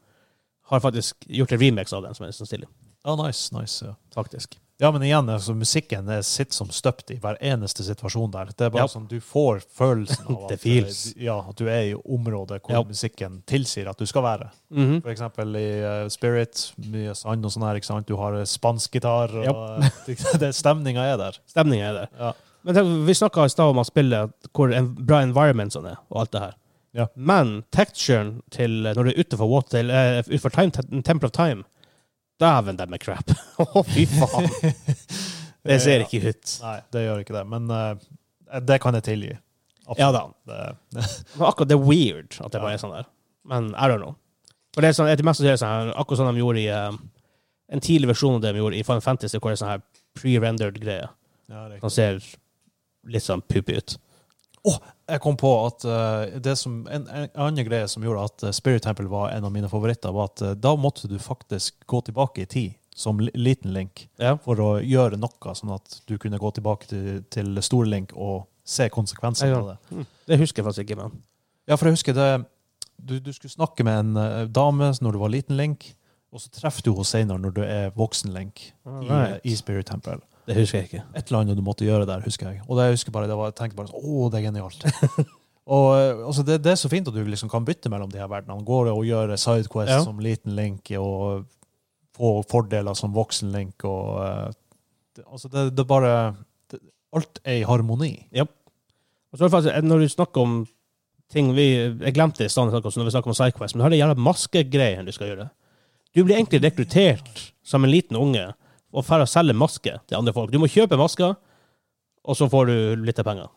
har faktisk gjort en remix av den, som er sånn stilig.
Ja, nice, nice, ja.
Faktisk.
Ja, men igjen, altså, musikken er sitt som støpt i hver eneste situasjon der. Det er bare
Ja.
sånn, du får følelsen av at,
The feels.
eh, ja, at du er i området hvor
Ja.
musikken tilsier at du skal være.
Mhm.
For eksempel i eh, Spirit, mye sand og sånn her, ikke sant? Du har eh, spansk gitar, og eh, det, stemninga er der.
Stemningen er der.
Ja.
Men tenk, vi snakka i stad om at spillet hvor en bra environment sånn er, og alt det her.
Ja.
Men texturen til eh, når du er utenfor Water, til, eh, utenfor time, te- Temple of Time Dæven, dem er crap. Å, fy faen. Det ser
Ja.
ikke ut.
Nei, det gjør ikke det, men eh, det kan jeg tilgi.
Ja da.
Det,
Men akkurat det er weird at det
Ja.
bare er sånn der. Men I don't know. For det er sånn, etter mest så er det sånn her, akkurat sånn de gjorde i eh, en tidlig versjon av det de gjorde i Final Fantasy, hvor det er sånn her pre-rendered greie.
ja, det er
Som ser litt sånn puppy ut.
Jeg kom på at eh, det som, en, en annen greie som gjorde at eh, Spirit Temple var en av mine favoritter, var at eh, da måtte du faktisk gå tilbake i tid som li- liten Link
Ja.
for å gjøre noe, sånn at du kunne gå tilbake til, til Stor Link og se konsekvensene
Ja.
av det.
Det husker jeg faktisk ikke, men
Ja, for jeg husker det Du, du skulle snakke med en eh, dame når du var liten Link, og så treffer du henne senere når du er voksen Link i,
Alright.
i Spirit Temple.
det husker jeg ikke.
Et eller annet du måtte gjøre der, husker jeg. Og det jeg husker bare, det var, jeg tenkte bare sånn Å, det er genialt. og eh, altså, det, det er så fint at du liksom kan bytte mellom de her verdenene. Går det å gjøre sidequests
Ja.
som liten Link og få fordeler som voksen Link og eh, det, Altså, det, det er bare det, Alt er i harmoni.
Og så er det faktisk, eh, når du snakker om ting vi Jeg glemte det i stand, når vi snakker om Sidequest, men her er det jævla maskegreier du skal gjøre. Du blir egentlig rekruttert som en liten unge og får selge maske til andre folk. Du må kjøpe masker, og så får du litt av penger.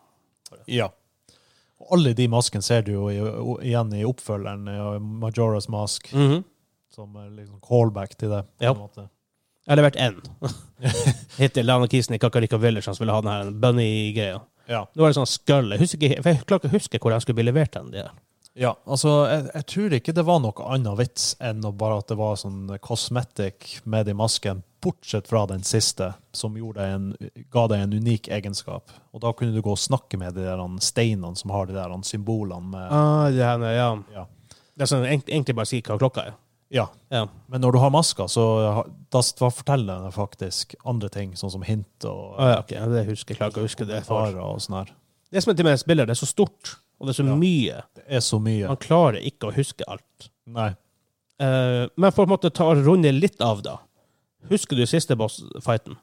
Ja. Og alle de maskene ser du jo i, o- igjen i oppfølgeren, ja, Majora's Mask, som er liksom callback til det. på
Ja.
en måte.
Jeg har levert én. Hittil anarkisten i Kakarika Village som ville ha den her bunny-greia.
Ja.
Nå er det sånn skull. Jeg, husker ikke, for jeg klarer ikke å huske hvor den skulle bli levert hen. de her.
ja. Altså, jeg, jeg tror ikke det var noe annet vits enn å bare at det var sånn cosmetic med de maskene, bortsett fra den siste, som gjorde deg en, ga deg en unik egenskap. Og da kunne du gå og snakke med de der steinene som har de der symbolene med
Ah, det, her, ja.
Ja.
det er sånn, egentlig- egentlig bare si hva klokka er.
Ja.
Ja.
Men når du har masker, så ha- da s- da forteller den deg faktisk andre ting, sånn som hint og
Ah, ja, ok. Ja, Det husker jeg. Klarer ikke å huske det.
farer og sånn her.
Det som er til med spiller, det er så stort, og det er så
Ja.
mye.
Det er så mye.
Man klarer ikke å huske alt.
Nei.
Eh, men for å på en måte ta og runde litt av, da. Husker du siste boss-fighten?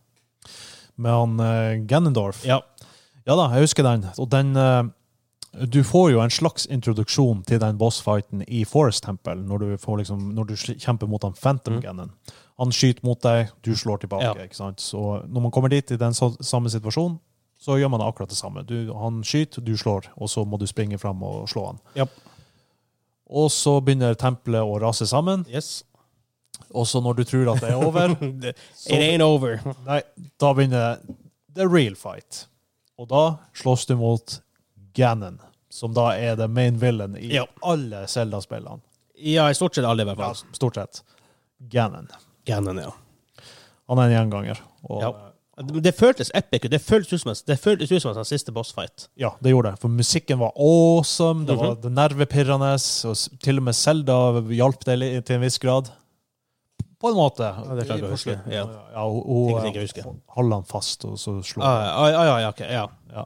Med han eh, Ganondorf.
Ja.
Ja da, jeg husker den. Og den eh, Du får jo en slags introduksjon til den bossfighten i Forest Temple, når du, får liksom, når du sli- kjemper mot han Phantom
Mm.
Ganon. Han skyter mot deg, du slår tilbake.
Ja.
ikke sant? Så når man kommer dit i den sa- samme situasjonen, så gjør man akkurat det samme. Du, han skyter, du slår, og så må du springe fram og slå han.
Ja.
Og så begynner tempelet å rase sammen,
Yes.
og så når du tror at det er over,
It
så
ain't over.
Nei, da begynner the real fight. Og da slåss du mot Ganon, som da er the main villain i
Ja.
alle Zelda-spillene.
Ja, i stort sett alle, i hvert
Ja,
fall.
stort sett. Ganon.
Ganon, ja.
Han er en gjenganger. Og, eh, ja.
Ja. Det, det føltes epic ut. Det føltes ut som en, det føltes ut som en sånn siste boss-fight.
det gjorde det. For musikken var awesome, det var
Mhm.
det nervepirrende, og s- til og med Zelda hjalp det li- til en viss grad. På en måte. Ja,
det klarer jeg å huske, ja.
hun,
Ting jeg ikke husker.
hun holdt eh, han fast, og så slo
Ah, ja, ah, ja, ja, ok, ja.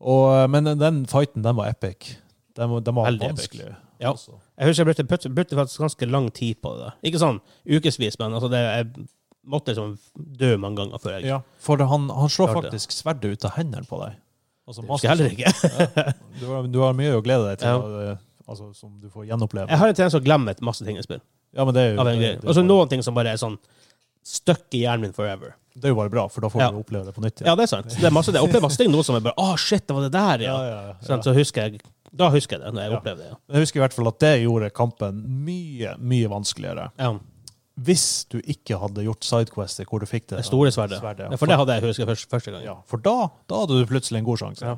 Og, eh, men den fighten, den var epic. Den, var- den var
Veldig epic.
vanskelig.
Ja.
også.
Jeg husker jeg brukte, brukte, brukte faktisk ganske lang tid på det. Ikke sånn ukevis, men altså det, jeg måtte liksom dø mange ganger før jeg
ja. For han, han slår
Klart det.
faktisk sverdet ut av hendene på deg. Altså,
Det
Master
husker jeg heller ikke.
Sword. Du, har, du har mye å glede deg til,
Ja.
og, eh, altså, som du får gjenoppleve.
Jeg har en tendens til å glemme et masse ting i spill.
Ja, men det er jo,
Av en
det,
greie.
det,
Og så
er jo bare,
noen ting som bare er sånn stuck i hjernen min forever.
det er jo bare bra, for da får
Ja.
du oppleve det på nytt.
Ja, det er sant. Det er masse det. Jeg opplever masse ting nå som er bare Å, shit, det var det der, ja.
Ja, ja, ja.
Sånn, så husker jeg Da husker jeg det, når jeg
Ja.
opplevde det.
Jeg husker i hvert fall at det gjorde kampen mye, mye vanskeligere.
Ja.
Hvis du ikke hadde gjort sidequester hvor du fikk det.
Det store sverdet.
Sverdet, ja.
Ja, For det hadde jeg huska første, første gang.
ja, for da, da hadde du plutselig en god sjanse.
Ja.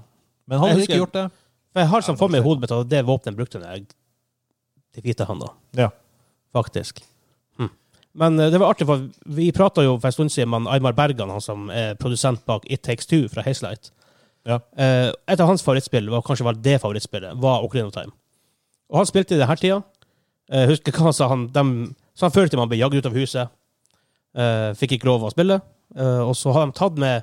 Men hadde du
Jeg
ikke
husker-
gjort det,
For jeg har sånn
Ja,
for meg i hodet mitt at det våpenet brukte når jeg til hvite handa.
Ja.
Faktisk. Hm. Men eh, det var artig, for vi prata jo for en stund siden med han Aymar Bergan, han som er produsent bak It Takes Two fra Hazelight.
Ja.
Eh, et av hans favorittspill, var kanskje var det favorittspillet, var Ocarina of Time. Og han spilte i denne tida. Eh, husker hva han sa? Han, dem, så han følte man ble jagd ut av huset. Eh, fikk ikke lov å spille. Eh, og så har de tatt med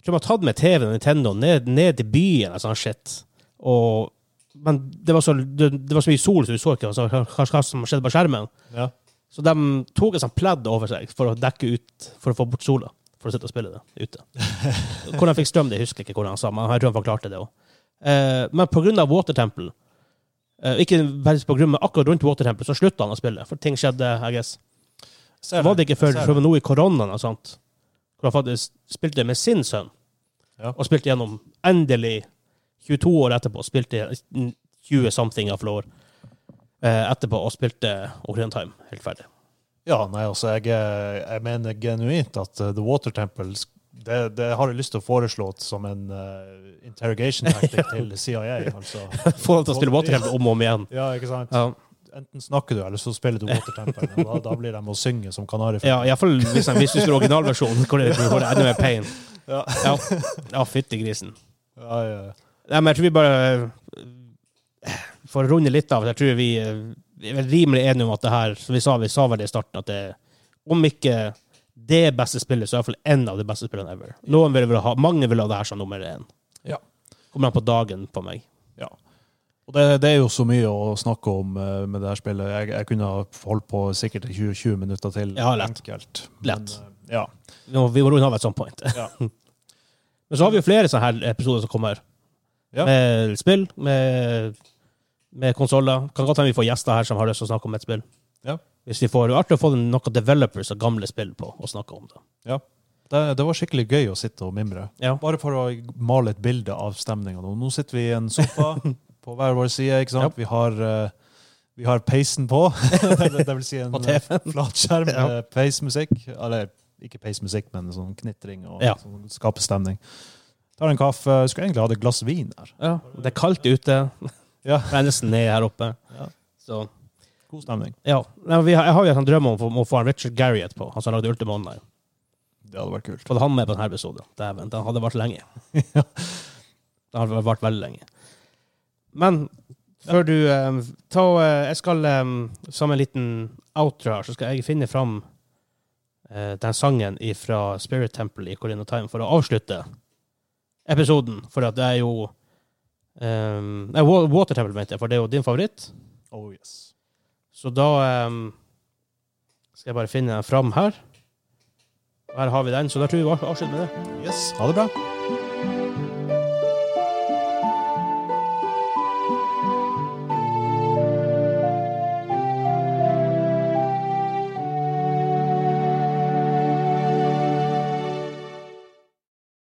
jeg tror de har tatt med TV-en og Nintendo ned, ned til byen. eller sånn shit. Og, men det var, så, det, det var så mye sol, så du så ikke altså, hva, hva- hva som skjedde på skjermen.
ja.
Så de tok et sånt pledd over seg for å dekke ut, for å få bort sola. For å sitte og spille det ute. Hvordan han fikk strøm, det husker jeg ikke, hvordan han sa, men jeg tror han forklarte det òg. Eh, men pga. Water Temple eh, Ikke bare på grunn, men akkurat rundt Water Temple så slutta han å spille, for ting skjedde. I guess.
Ser
Var det ikke før
Jeg ser
før nå i koronaen og sånt, hvor han faktisk spilte med sin sønn,
Ja.
og spilte gjennom endelig 22 år etterpå, spilte 20 something av floor eh, etterpå, og spilte Orient Time helt ferdig.
Ja, nei, altså, jeg, eh, jeg mener genuint at eh, The Water Temple sk- det, det har jeg lyst til å foreslå som en eh, interrogation tactic til CIA. altså.
Få ham til å spille Watercamp om og om igjen.
Ja, ikke sant?
Ja,
Enten snakker du, eller så spiller du Water Temple. Og da, da blir de å synge som kanarifugler.
ja iallfall hvis, hvis du spiller originalversjonen, hvor det hvor det er enda mer pain.
Ja.
Ja, ja fytti grisen.
Ja, ja, ja.
Nei, men jeg tror vi bare eh, For å runde litt av, jeg tror vi eh, vi er vel rimelig enige om at det her, som vi sa, vi sa vel det i starten, at det om ikke det beste spillet, så er det iallfall én av de beste spillene ever. Noen vil vil ha, mange vil ha det her som nummer én.
Ja.
Kommer an på dagen på meg.
Og det, det er jo så mye å snakke om eh, med det her spillet. Jeg, jeg kunne ha holdt på sikkert i 20-20 minutter til.
Ja, lett.
Enkelt.
Lett.
Men, eh, ja.
Vi må, vi må runde av et sånt point.
Ja.
Men så har vi jo flere sånne her episoder som kommer.
Ja.
Med spill, med, med konsoller. Kan godt hende vi får gjester her som har lyst til å snakke om et spill.
Ja.
Hvis vi får, det er artig å få noen developers av gamle spill på og snakke om det.
Det, det var skikkelig gøy å sitte og mimre.
Ja.
Bare for å male et bilde av stemninga nå. Nå sitter vi i en sofa på hver vår side. ikke sant? Vi har, eh, vi har peisen på. det, det vil si en
På
eh,
TV-en.
flatskjerm med
Ja.
peismusikk. Eller ikke peismusikk, men sånn knitring og
Ja.
sånn skape stemning. Tar en kaffe. Skulle egentlig hatt et glass vin her.
Ja. Det er kaldt ute.
Ja.
Brennes ned her oppe.
Ja.
Så,
God stemning.
ja. Nei, men vi har, jeg har jo en drøm om, å- om å få en Richard Garriott på, han som lagde Ultima Online.
Det hadde vært kult.
Få han med på denne episoden. Dæven, den hadde vært lenge.
Ja.
Den hadde vært veldig lenge. Men før du eh, ta, eh, Jeg skal eh, som en liten outro her, så skal jeg finne fram eh, den sangen fra Spirit Temple i Corina Time for å avslutte episoden. For at det er jo eh, Nei, Wa- Water Temple, mente jeg, for det er jo din favoritt.
Oh yes.
Så da ehm, skal jeg bare finne den fram her. Her har vi den, så da tror jeg vi avslutter med det.
Yes, Ha det bra.